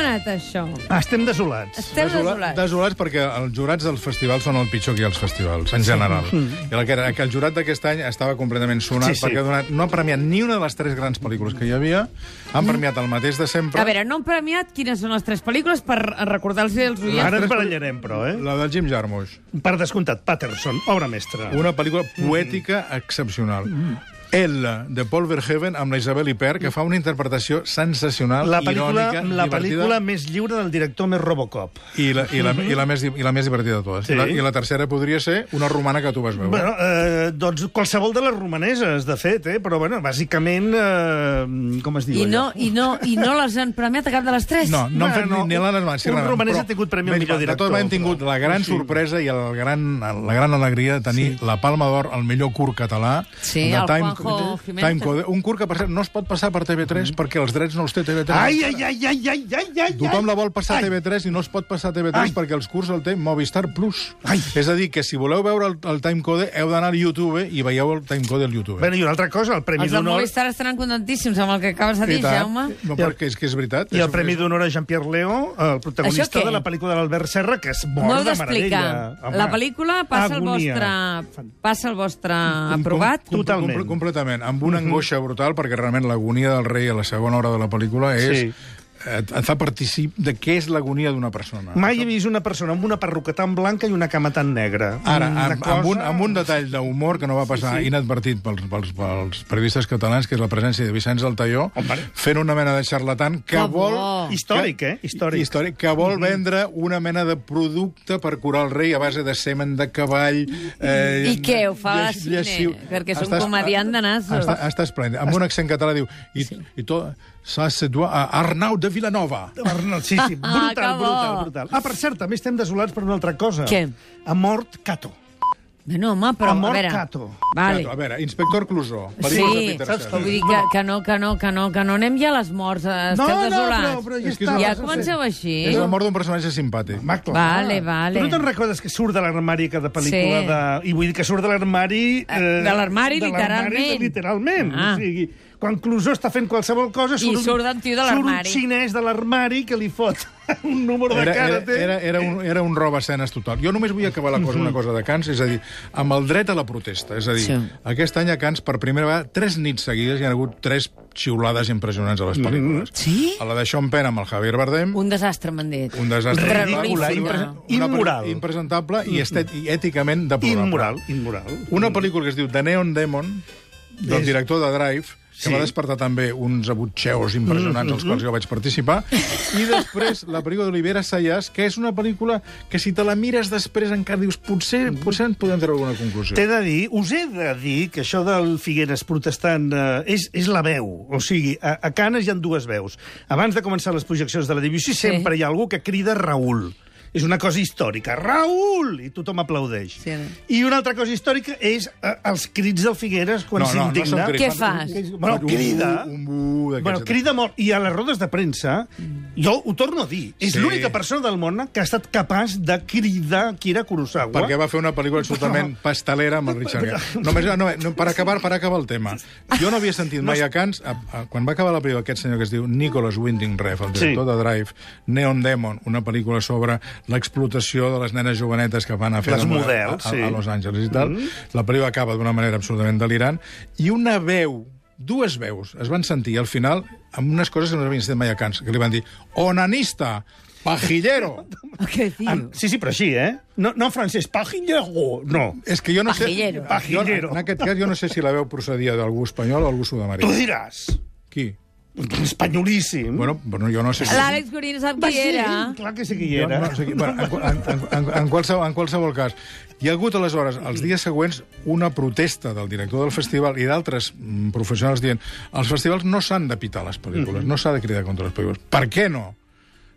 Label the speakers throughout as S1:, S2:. S1: anat, això?
S2: Ah, Estem desolats.
S1: Esteu
S3: Desola-
S1: desolats.
S3: desolats perquè els jurats dels festivals són el pitjor que hi ha als festivals, en general. I el, que, era- que el jurat d'aquest any estava completament sonat
S2: Mm. Sí, sí.
S3: perquè ha donat, no ha premiat ni una de les tres grans pel·lícules que hi havia, han premiat el mateix de sempre.
S1: Mm. A veure, no hem premiat quines són les tres pel·lícules per recordar-los els oients.
S2: Ara ens barallarem, però, eh?
S3: La del Jim Jarmusch.
S2: Per descomptat, Patterson, obra mestra.
S3: Una pel·lícula
S2: Mm.
S3: poètica excepcional. Ella, de Paul Verhoeven, amb la Isabel Huppert, que fa una interpretació sensacional,
S2: La pel·lícula,
S3: irònica,
S2: la
S3: divertida.
S2: pel·lícula més lliure del director més Robocop.
S3: I la, i, la, i, la més, di- I la més divertida de totes.
S2: Sí.
S3: I, la, I la tercera podria ser una romana que tu vas veure.
S2: Bueno, eh, doncs qualsevol de les romaneses, de fet, eh? però bueno, bàsicament, eh, com es diu
S1: I
S2: allò?
S1: no, i, no, I no les han premiat a cap de les tres?
S3: No, no han fet
S2: Bueno,
S3: ni, ni la Nana Mancini,
S2: un
S3: la Nana,
S2: romanès
S3: però
S2: ha tingut premi al
S3: menys
S2: millor
S3: mal,
S2: director,
S3: De tot hem tingut
S2: però-
S3: la gran
S2: Sí.
S3: sorpresa i el gran, la gran alegria de tenir la Palma d'Or al millor curt català.
S1: Sí,
S3: de
S1: el
S3: Time-
S1: Juanjo Jiménez.
S3: Time Code. Un curt que, per cert, no es pot passar per TV3 perquè els drets no els té TV3.
S2: Mm-hmm. Ai, ai, ai, ai, ai, ai, ai,
S3: Tothom la vol passar a
S2: Ai.
S3: TV3 i no es pot passar a TV3
S2: Ai.
S3: perquè els curs el té Movistar Plus. És a dir, que si voleu veure el, el timecode heu d'anar al YouTube i veieu el timecode al YouTube.
S2: Bueno, i una altra cosa, el Premi
S1: Els de
S2: d'Honor...
S1: Movistar estaran contentíssims amb el que acabes de
S3: I
S1: dir,
S3: tant.
S1: Jaume.
S3: No,
S2: I el-
S3: perquè és que és veritat.
S2: I
S3: És-
S2: el Premi d'Honor a Jean-Pierre Leo, el protagonista
S1: Això què?
S2: de la pel·lícula de l'Albert Serra, que és
S1: M'ho
S2: mort
S1: heu
S2: de meravella.
S1: d'explicar.
S2: Home,
S1: La pel·lícula passa el
S2: agonia.
S1: vostre... Passa el vostre aprovat.
S2: com- Totalment. Mhm.
S3: Comple- completament. Amb una angoixa brutal, perquè realment l'agonia del rei a la segona hora de la pel·lícula és...
S2: Sí.
S3: Et, et fa particip de què és l'agonia d'una persona.
S1: Ah,
S2: Mai he vist una persona amb una perruca tan blanca i una cama tan negra. Mm,
S3: Ara,
S2: Una
S3: amb, amb, un, amb un detall d'humor que no va passar sí, sí. inadvertit pels, pels, pels periodistes catalans, que és la presència de Vicenç Altaió,
S2: Home.
S3: fent una mena de xarlatan que
S1: Que
S3: vol...
S1: bo.
S2: Històric, eh? Històric.
S3: històric. Que vol vendre una mena de producte per curar el rei a base de semen de cavall... Eh,
S1: I què, ho fa a
S3: lleix-
S1: cine?
S3: lleixiu.
S1: Perquè és un comediant de nassos.
S3: Està, està esplèndid. Amb un accent català diu... I, sí. i tot, s'ha seduat a Arnau de Vilanova.
S2: Arnold, sí, sí,
S1: Ah, que
S2: brutal,
S1: bo.
S2: brutal, brutal. Ah, per cert, també estem desolats per una altra cosa.
S1: Què?
S2: Ha mort Cato.
S1: Bueno, home, però a
S2: Amor
S1: veure...
S2: Cato.
S1: Vale.
S3: A veure, Inspector Clouseau. pel·lícules de
S1: Sí,
S3: Peter
S1: saps
S3: Sellers.
S1: que vull dir que, que no, que no, que no, que no anem ja a les morts, eh, esteu
S2: no,
S1: desolats.
S2: però- però ja
S1: És que
S2: està,
S1: ja
S2: vas a
S1: comenceu
S2: fer.
S1: així.
S3: És la mort d'un personatge simpàtic.
S2: Home, clar.
S1: Vale, vale.
S2: Tu Ah. no te'n recordes que surt de l'armari cada
S1: Sí.
S2: pel·lícula
S1: Eh,
S2: de... I vull dir que surt de l'armari... eh,
S1: de l'armari,
S2: de l'armari,
S1: literalment.
S2: literalment.
S1: Ah.
S2: O sigui, quan Clusó està fent qualsevol cosa...
S1: I surt un tio de l'armari.
S2: Surt un xinès de l'armari que li fot un número de
S3: Era, era,
S2: karate.
S3: era, era, un, era un roba escenes total. Jo només vull acabar la cosa, una cosa de Cans, és a dir, amb el dret a la protesta. És a dir,
S1: Sí.
S3: sí. aquest any a Cans, per primera vegada, tres nits seguides hi ha hagut tres xiulades impressionants a les pel·lícules.
S1: Sí?
S3: A la de Sean Penn amb el Javier Bardem,
S1: Un desastre, m'han dit.
S3: un desastre
S1: Terrorífica.
S3: ridícul,
S1: Immoral.
S3: una pel·lícula
S2: Immoral.
S3: impresentable i, estet, i èticament deplorable.
S2: Immoral, immoral.
S3: Una pel·lícula que es diu The Neon Demon, del
S2: És-
S3: director de Drive, que
S2: Sí. Mm-hmm.
S3: va despertar també uns abutxeus impressionants, als quals jo vaig participar. I després, la pel·lícula d'Olivera Sayas, que és una pel·lícula que si te la mires després encara dius potser,
S2: Mm-hmm.
S3: potser en podem treure alguna conclusió.
S2: T'he de dir, us he de dir que això del Figueres protestant eh, és, és la veu. O sigui, a, a Canes hi han dues veus. Abans de començar les projeccions de la Debussy
S1: Sí.
S2: sí. sempre hi ha algú que crida Raül. És una cosa històrica. Raül! I tothom aplaudeix.
S1: Sí.
S2: I una altra cosa històrica és eh, els crits del Figueres quan
S3: No, no, no
S2: s'indigna.
S3: són crits.
S1: Què fas?
S2: Bueno,
S3: Un-
S2: crida.
S3: un bu d'aquests.
S2: bueno, crida molt. I a les rodes de premsa, jo ho torno a dir, és
S3: Sí.
S2: l'única persona del món que ha estat capaç de cridar Kira Kurosawa.
S3: Perquè va fer una pel·lícula absolutament pastelera amb el Richard Gere. Només, no, no, per, acabar, per acabar el tema. Jo no havia sentit mai a Cans... A, a, quan va acabar la pel·lícula aquest senyor que es diu Nicholas Winding Refn, el director
S2: Sí.
S3: de Drive, Neon Demon, una pel·lícula sobre l'explotació de les nenes jovenetes que van a fer
S2: Les
S3: de moda
S2: models,
S3: a,
S2: sí.
S3: a, a Los Angeles i tal. La pel·lícula acaba d'una manera absolutament delirant. I una veu dues veus es van sentir al final amb unes coses que no havien sentit mai a Cans, que li van dir onanista, pajillero,
S1: Què diu?
S2: Amb- Sí, sí, però així, eh? No, no en francès, pajillero, no.
S3: És que jo no sé...
S1: Pajillero.
S2: Pajillero.
S3: Jo, en aquest cas, jo no sé si la veu procedia d'algú espanyol o algú
S2: Tu
S3: sud-americà.
S2: diràs,
S3: Qui?
S2: espanyolíssim.
S3: Bueno, bueno, jo no sé si...
S1: L'Àlex Gorina sap
S2: Va,
S1: qui era.
S2: Sí, clar que sí que hi
S3: Jo
S2: era.
S3: no sé qui- bueno, en, en, en, en, qualsevol, en qualsevol cas, hi ha hagut aleshores, els dies següents, una protesta del director del festival i d'altres mm, professionals dient els festivals no s'han de pitar les
S2: Mm-hmm.
S3: pel·lícules, no s'ha de cridar contra les pel·lícules. Per què no?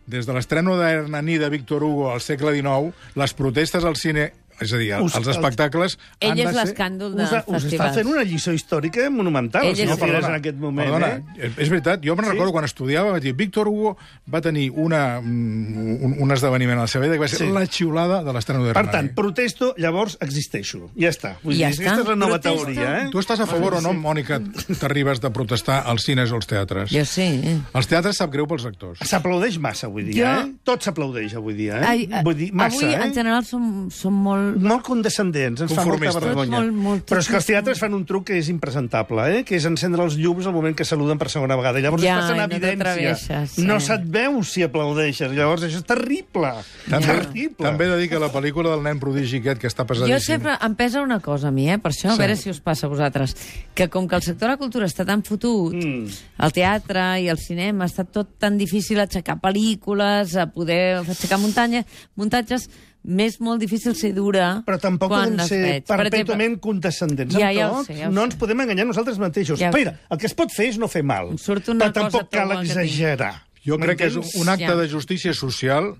S3: Des de l'estreno d'Hernani de Víctor Hugo al segle XIX, les protestes al cine És a dir,
S2: Us-
S3: els espectacles han
S4: Ell
S3: de
S4: és
S3: ser...
S4: l'escàndol del
S2: Us, ha-
S4: festival.
S2: us està fent una lliçó històrica monumental,
S4: Ell
S2: el
S4: és-
S2: senyor
S4: No,
S2: Figueres, en aquest moment.
S3: Perdona,
S2: eh?
S3: és- és veritat, jo me'n sí? recordo quan estudiava, vaig dir, Víctor Hugo va tenir una, mm, un, un esdeveniment a la seva vida que va ser
S2: Sí.
S3: sí. la xiulada de l'estrena de
S2: Per tant, protesto, llavors existeixo. Ja està. Vull
S4: Ja
S2: dir,
S4: està.
S2: Aquesta és la nova
S4: Protesto.
S2: teoria, eh?
S3: Tu estàs a favor o no, Mònica, t'arribes de protestar als cines o als teatres?
S4: Jo sí, eh?
S3: Els teatres sap greu pels actors.
S2: S'aplaudeix massa avui dia,
S4: Jo-
S2: eh? Tot s'aplaudeix avui dia, eh?
S4: Ai,
S2: Vull dir, massa,
S4: avui,
S2: eh?
S4: en general, som, som molt...
S2: molt condescendents, ens fa molta
S3: Conformistes.
S2: vergonya.
S4: Tot molt- molt-
S2: Però és que els teatres fan un truc que és impresentable, eh? que és encendre els llums al moment que saluden per segona vegada. I llavors
S4: Ja,
S2: es passa en
S4: i no
S2: evidència.
S4: t'atreveixes, sí.
S2: No se't veu si aplaudeixes. Llavors això és terrible.
S3: També,
S2: terrible.
S3: també he de dir que la pel·lícula del nen prodigi aquest que està
S4: Jo
S3: pesadíssim...
S4: sempre em pesa una cosa a mi, eh? per això, a
S3: Sí.
S4: veure si us passa a vosaltres, que com que el sector de la cultura està tan fotut, mm. el teatre i el cinema, està tot tan difícil aixecar pel·lícules, a poder aixecar muntanya, muntatges, m'és molt difícil ser dura
S2: Però tampoc
S4: quan
S2: podem
S4: les
S2: ser
S4: veig. Per exemple,
S2: perpètuament condescendents
S4: Ja,
S2: amb
S4: ja ho
S2: tot.
S4: sé, ja ho
S2: no
S4: sé.
S2: ens podem enganyar nosaltres mateixos.
S4: Ja ho
S2: Espera,
S4: sé.
S2: el que es pot fer és no fer mal.
S4: Em surt una
S2: Però tampoc
S4: cosa tan
S2: cal
S4: bona que tinc.
S2: exagerar.
S3: Jo crec que és
S2: M'entens?
S3: un acte
S4: Ja.
S3: de justícia social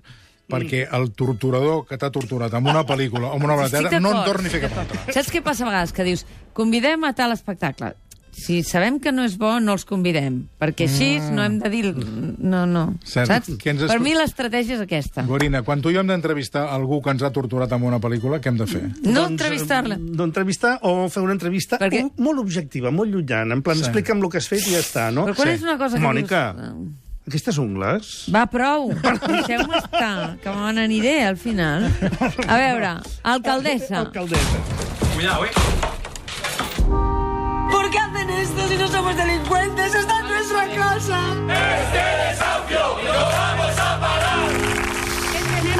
S3: perquè el torturador que t'ha torturat amb una pel·lícula o amb una obra de
S4: Estic
S3: teatre no en
S4: d'acord,
S3: torni a fer cap altra.
S4: Saps què passa a vegades? Que dius, convidem a tal espectacle. Si sabem que no és bo, no els convidem, perquè així no hem de dir... No, no.
S3: Cert.
S4: Saps?
S3: Mm. Què ens
S4: Per
S3: escu-
S4: mi l'estratègia és aquesta.
S3: Gorina, quan tu i jo hem d'entrevistar algú que ens ha torturat amb una pel·lícula, què hem de fer?
S4: No
S2: doncs,
S4: entrevistar-la.
S2: eh, No entrevistar o fer una entrevista
S4: Perquè-
S2: Perquè... molt objectiva, molt llunyant. En plan, sí. explica'm el que has fet i ja està, no?
S4: Però quan és una cosa que
S2: Mònica,
S4: dius...
S2: aquestes ungles...
S4: Va, prou. Deixeu-me estar, que me n'aniré al final. A veure, alcaldessa.
S2: Alcaldessa.
S5: ¿Por qué hacen esto si no somos delincuentes? ¡Esta no es nuestra casa!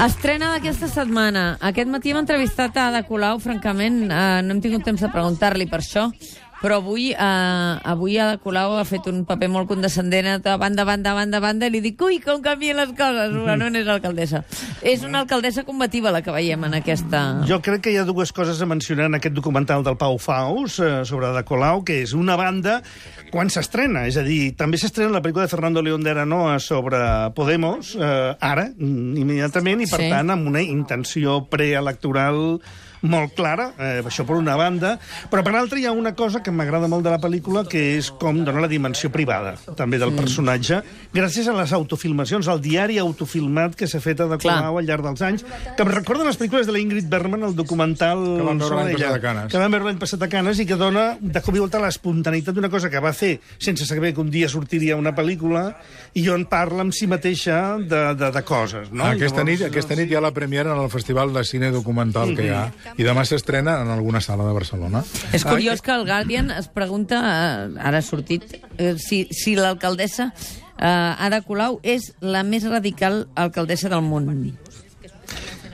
S4: Estrena d'aquesta setmana. Aquest matí hem entrevistat a Ada Colau, francament, eh, no hem tingut temps de preguntar-li per això, però avui, eh, avui Ada Colau ha fet un paper molt condescendent de banda, banda, banda, banda, i li dic, ui, com canvien les coses, la no és alcaldessa. És una alcaldessa combativa la que veiem en aquesta...
S2: Jo crec que hi ha dues coses a mencionar en aquest documental del Pau Faus eh, sobre de Colau, que és una banda quan s'estrena, és a dir, també s'estrena la pel·lícula de Fernando León de Aranoa sobre Podemos, eh, ara, mm, immediatament, i per
S4: Sí.
S2: sí. tant amb una intenció preelectoral molt clara, eh, això per una banda, però per l'altra hi ha una cosa que m'agrada molt de la pel·lícula, que és com dona la dimensió privada, també del personatge, gràcies a les autofilmacions, al diari autofilmat que s'ha fet a De
S4: Clar.
S2: Colau al llarg dels anys, que em recorden les pel·lícules de la Ingrid Bergman, el documental
S3: Que vam veure
S2: sobre
S3: l'any
S2: ella,
S3: passat a Canes.
S2: que vam veure l'any passat a Canes i que dona de cop i volta l'espontaneïtat d'una cosa que va fer sense saber que un dia sortiria una pel·lícula i on parla amb si mateixa de, de, de coses. No?
S3: No, aquesta,
S2: I
S3: nit, aquesta nit hi ha la premiera en el Festival de Cine Documental que hi ha i demà s'estrena en alguna sala de Barcelona.
S4: És curiós que el Guardian es pregunta, eh, ara ha sortit, eh, si, si l'alcaldessa eh, Ada Colau és la més radical alcaldessa del món.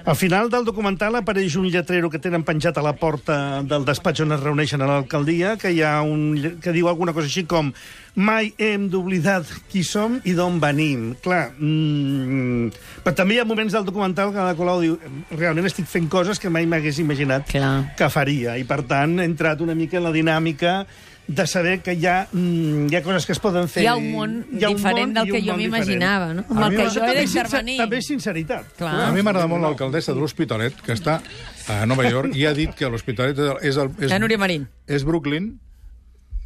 S2: Al final del documental apareix un lletrero que tenen penjat a la porta del despatx on es reuneixen a l'alcaldia, que hi ha un lle- que diu alguna cosa així com mai hem d'oblidar qui som i d'on venim. Clar, mm, però també hi ha moments del documental que Ada Colau diu realment estic fent coses que mai m'hagués imaginat
S4: Clar.
S2: que faria. I, per tant, he entrat una mica en la dinàmica de saber que hi ha, mm, hi ha coses que es poden fer.
S4: Hi ha un món
S2: Hi ha un
S4: diferent
S2: món
S4: del
S2: i
S4: que
S2: un
S4: jo
S2: món
S4: m'imaginava, no? Amb
S2: A
S4: el
S2: mi
S4: que
S2: m'agrada-
S4: jo he
S2: també és sincer-
S4: d'intervenir.
S2: També és sinceritat.
S4: Clar.
S3: A mi m'agrada molt l'alcaldessa de l'Hospitalet, que està a Nova York, i ha dit que l'Hospitalet és, el- és, el- és,
S4: La Núria Marín.
S3: és Brooklyn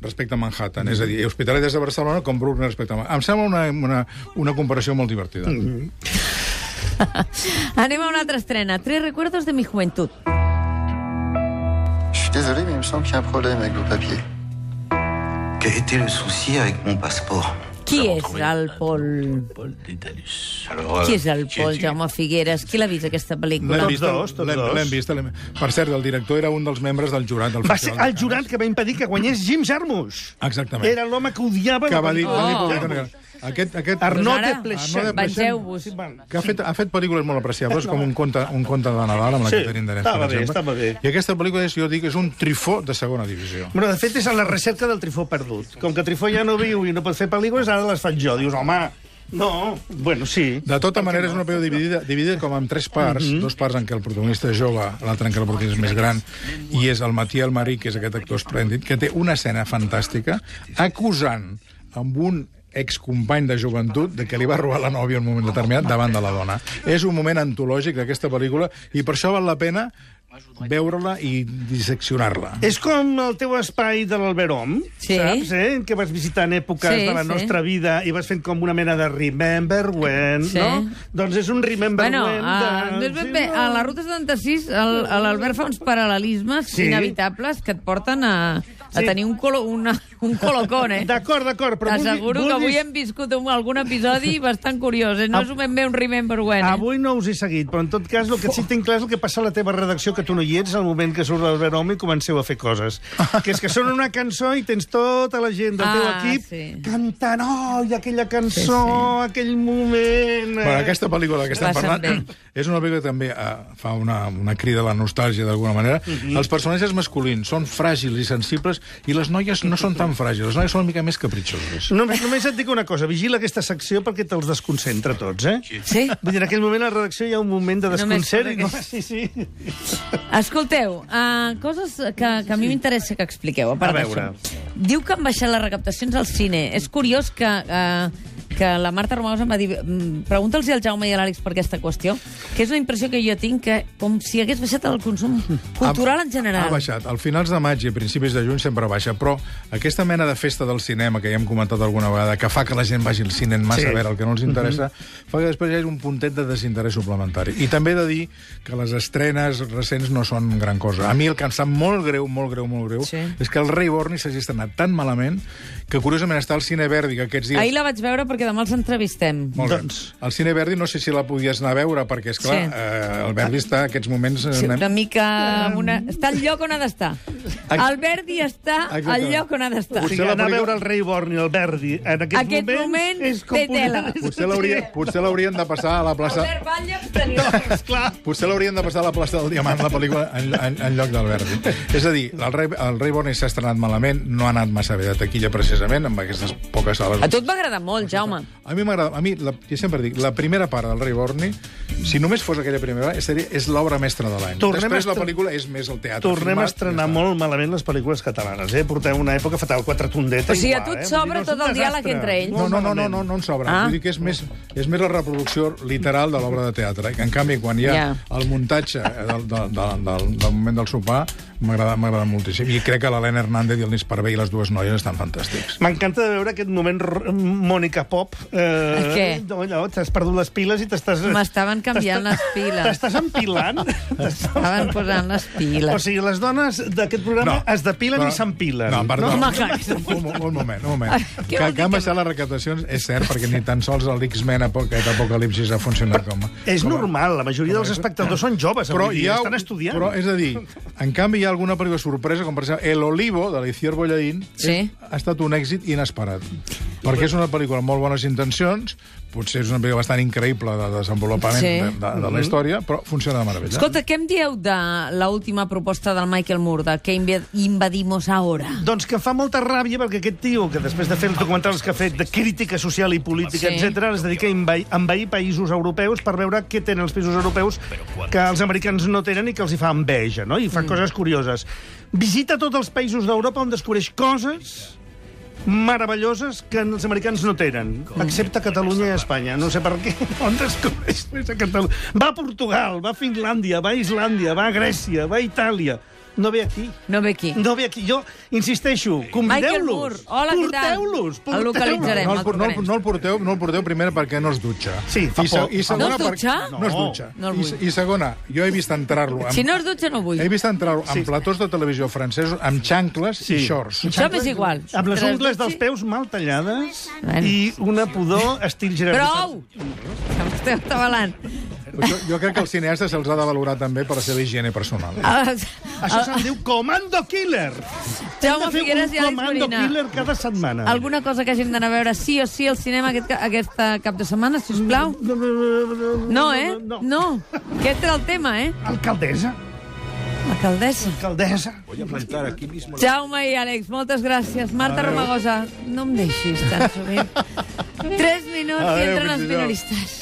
S3: respecte a Manhattan. És a dir, Hospitalet és de Barcelona com Brooklyn respecte a Manhattan. Em sembla una, una, una comparació molt divertida. Mm.
S4: Anem a una altra estrena. Tres recuerdos de mi juventud.
S6: Je suis désolé, mais il me semble qu'il y a un problème avec vos papiers.
S7: Quel était le souci avec mon passeport
S4: Qui és el Pol?
S7: Paul Dédalus. Alors,
S4: Qui
S7: euh,
S4: és el
S7: qui
S4: Pol,
S7: es-tu
S4: Jaume Figueres? Qui l'ha vist, aquesta pel·lícula?
S2: Tots dos, tots
S3: l'hem-
S2: dos.
S3: L'hem vist, l'hem Per cert, el director era un dels membres del jurat del
S2: Va ser
S3: Festival. de
S2: el
S3: Cannes.
S2: jurat que va impedir que guanyés Jim Jarmusch.
S3: Exactament.
S2: Era l'home que odiava...
S3: Que va dir...
S2: Oh.
S3: Oh. Aquest, aquest,
S2: Arnau
S4: Doncs
S2: de
S4: ara,
S2: Pleixant.
S4: Vengeu-vos.
S3: que ha fet, ha fet pel·lícules molt apreciables, com un conte, un conte de Nadal amb la
S2: Sí,
S3: Catherine Deneuve,
S2: estava
S3: per
S2: bé,
S3: exemple.
S2: estava bé.
S3: I aquesta pel·lícula, és, jo dic, és un trifó de segona divisió.
S2: Bueno, de fet, és a la recerca del Trifó perdut. Com que Trifó ja no viu i no pot fer pel·lícules, ara les faig jo. Dius, home, no... Bueno, sí.
S3: De tota manera, és una pel·lícula dividida, dividida com en tres parts, mm -hmm. dos parts en què el protagonista és jove, l'altra en què el protagonista és més gran, i és el Matías Marí, que és aquest actor esplèndid, que té una escena fantàstica acusant amb un excompany de joventut de que li va robar la nòvia en un moment determinat davant de la dona. És un moment antològic d'aquesta pel·lícula i per això val la pena veure-la i disseccionar-la.
S2: És com el teu espai de l'Alberom,
S4: Sí.
S2: saps, eh? Que vas visitant èpoques
S4: Sí,
S2: de la
S4: sí.
S2: nostra vida i vas fent com una mena de remember when,
S4: Sí.
S2: no? Doncs és un remember
S4: Bueno,
S2: when...
S4: a,
S2: de...
S4: no és ben bé.
S2: Sí, no?
S4: A la Ruta 76 el- a l'Albert fa uns paral·lelismes
S2: Sí.
S4: inevitables que et porten a, a
S2: Sí.
S4: tenir un, colo, una, un colocón, eh?
S2: D'acord, d'acord, però vulgui-
S4: T'asseguro que avui
S2: vulguis-
S4: hem viscut un, algun episodi bastant curiós, eh? No és ben bé un remember when, eh?
S2: Avui no us he seguit, però en tot cas el que sí que tinc clar és el que passa a la teva redacció, que tu no hi ets al moment que surt del Verome i comenceu a fer coses. Que és que sona una cançó i tens tota la gent del teu
S4: Ah,
S2: equip
S4: sí.
S2: cantant, oi, aquella cançó,
S4: Sí,
S2: aquell moment... eh?"
S3: Bueno, aquesta pel·lícula que estem
S4: Passen
S3: parlant és una pel·lícula que també eh, fa una, una crida a la nostàlgia d'alguna manera. Els personatges masculins són fràgils i sensibles i les noies no són tan fràgils, les noies són una mica més capritxoses.
S2: Només, només et dic una cosa, vigila aquesta secció perquè te'ls desconcentra tots, eh?
S4: Sí?
S2: Vull dir, en aquell moment a la redacció hi ha un moment de
S4: Només
S2: desconcert i
S4: per
S2: no,
S4: aquest-
S2: sí, sí.
S4: Escolteu, uh, coses que, que a mi m'interessa que expliqueu, a part
S2: A veure.
S4: d'això. Diu que han baixat les recaptacions al cine. És curiós que... Uh, que la Marta Romagosa em va dir "Mm, pregunta'ls al Jaume i a l'Àlex per aquesta qüestió, que és una impressió que jo tinc que com si hagués baixat el consum cultural en general.
S3: Ha baixat. Al finals de maig i a principis de juny sempre baixa, però aquesta mena de festa del cinema que ja hem comentat alguna vegada, que fa que la gent vagi al cine en massa
S2: Sí. Mhm.
S3: sí. a veure el que no els interessa, fa que després hi hagi un puntet de desinterès suplementari. I també he de dir que les estrenes recents no són gran cosa. A mi el que em sap molt greu, molt greu, molt greu,
S4: Sí.
S3: sí. és que el rei Borni s'hagi estrenat tan malament que, curiosament, està al Cine Verdi, que aquests dies...
S4: Ahir la vaig veure perquè demà els entrevistem.
S3: Molt doncs...
S2: Doncs-
S3: bé. El Cine Verdi no sé si la podies anar a veure, perquè, és clar,
S4: Sí.
S3: sí. eh, el
S2: Ah.
S3: Verdi està en aquests moments... eh,
S4: Sí,
S3: una-
S4: una mica... amb Una... Està al lloc on ha d'estar. El Verdi està al
S3: Exactament.
S4: lloc on ha d'estar.
S2: O sigui,
S3: la
S2: anar a
S3: pel·lícula-
S2: veure el rei Born i el Verdi en aquests
S4: Aquest
S2: moments...
S4: moment
S2: és com
S4: té
S2: posar-
S4: tela.
S3: Potser l'hauria- Potser l'haurien de passar a la plaça...
S4: Albert Batlle, teniu...
S2: Esclar.
S3: Potser l'haurien de passar a la plaça del Diamant, la pel·lícula, en, en, en lloc del Verdi. És a dir, el rei, el rei Borni s'ha estrenat malament, no ha anat massa bé de taquilla, precisament, amb aquestes poques sales.
S4: A tu et va agradar molt, Jaume.
S3: A mi m'agrada, a mi, la, jo sempre dic, la primera part del rei Borni, si només fos aquella primera part, seria, és l'obra mestra de l'any.
S2: Tornem a
S3: Després la
S2: estre-
S3: pel·lícula és més el teatre.
S2: Tornem a
S3: filmat,
S2: estrenar
S3: ja està.
S2: molt malament les pel·lícules catalanes, eh? Portem una època fatal, quatre tondetes.
S4: O sigui, a
S2: igual,
S4: tu et
S2: eh?
S4: sobra
S2: Vull dir, no, és un
S4: tot el diàleg
S2: desastre.
S4: entre ells.
S3: No, no, no, no,
S2: malament.
S3: no, no en sobra.
S4: Ah.
S3: Ah. Vull dir que és més, és més la reproducció literal de l'obra de teatre. eh? En canvi, quan hi ha
S4: Ja.
S3: el muntatge eh, del, del, del, del, del moment del sopar, m'agrada m'agrada moltíssim. I crec que l'Helena Hernández i el Nis Parvé i les dues noies estan fantàstics.
S2: M'encanta de veure aquest moment r- Mònica Pop. Eh,
S4: Què?
S2: No, allò, t'has perdut les piles i t'estàs...
S4: M'estaven canviant
S2: t'està-
S4: les piles.
S2: T'estàs empilant?
S4: Estaven posant les
S2: o
S4: piles.
S2: sigui, les dones d'aquest programa no. es depilen
S3: Però-
S2: i s'empilen.
S3: No, perdó.
S4: Home,
S3: No?
S4: clar, que
S3: Un, mo- un moment, un moment.
S4: Què
S3: Que,
S4: vol dir
S3: que
S4: que
S3: han baixat les recaptacions, és cert, perquè ni tan sols l'X-Men apo- aquest apocalipsis ha funcionat com...
S2: És
S3: com a-
S2: normal, la majoria dels espectadors són joves, però avui dia, estan estudiant.
S3: Però, és a dir, en canvi hi ha alguna pel·lícula sorpresa, com per exemple El Olivo, de l'Icier Bollaín,
S4: Sí.
S3: és, ha estat un èxit inesperat. Perquè és una pel·lícula amb molt bones intencions, potser és una pel·lícula bastant increïble de desenvolupament
S4: Sí.
S3: de, de,
S2: Mhm.
S3: de la història, però funciona de meravella.
S4: Escolta, què em dieu de l'última proposta del Michael Moore, de que inve- invadimos ahora?
S2: Doncs que em fa molta ràbia perquè aquest tio, que després de fer els documentals que ha fet de crítica social i política,
S4: Sí.
S2: sí. etc, es dedica a envair, envair països europeus per veure què tenen els països europeus que els americans no tenen i que els hi fa enveja, no? I fa mm. coses curioses. Visita tots els països d'Europa on descobreix coses meravelloses que els americans no tenen, excepte Catalunya i Espanya. No sé per què, on descobreix més a Catalunya. Va a Portugal, va a Finlàndia, va a Islàndia, va a Grècia, va a Itàlia. No ve aquí.
S4: No ve aquí.
S2: No ve aquí. Jo insisteixo,
S4: Michael
S2: convideu-los.
S4: Moore, hola, què tal?
S2: Porteu-los,
S4: El
S2: porteu-los.
S4: localitzarem.
S3: no, el, por- no, el-
S4: tocarem.
S3: no, el porteu, no el porteu primer perquè no es dutxa.
S2: Sí, fa
S3: I, se-
S2: por.
S3: i
S4: No
S3: segona,
S4: es
S3: perquè-
S4: dutxa?
S3: No es dutxa.
S4: No el
S3: I,
S4: vull.
S3: I segona, jo he vist entrar-lo... amb-
S4: Si no es dutxa, no vull.
S3: He vist entrar-lo amb platós de televisió francesos, amb xancles sí. i shorts.
S4: Això m'és igual.
S2: Amb les
S4: Mentre es
S2: ungles dels
S4: dutxi-
S2: peus mal tallades
S4: Bueno.
S2: i una pudor estil Gerard.
S4: Prou! Que m'esteu atabalant.
S3: Jo, jo crec que els cineastes se'ls ha de valorar també per la seva higiene personal.
S4: Ah,
S2: Això se'n diu Comando Killer. Hem
S4: Jaume
S2: de fer
S4: Figueres
S2: un
S4: i Àlex
S2: Comando
S4: Molina.
S2: Killer cada setmana.
S4: Alguna cosa que hàgim d'anar a veure sí o sí al cinema aquest, ca- aquesta cap de setmana, si us plau? No, eh?
S2: No.
S4: No. Aquest era el tema, eh?
S2: Alcaldessa.
S4: Alcaldessa.
S2: Alcaldessa.
S4: Jaume i Àlex, moltes gràcies. Marta Romagosa, no em deixis tan sovint. Tres minuts i
S3: Adéu,
S4: entren els
S3: fins dijous.
S4: minoristes.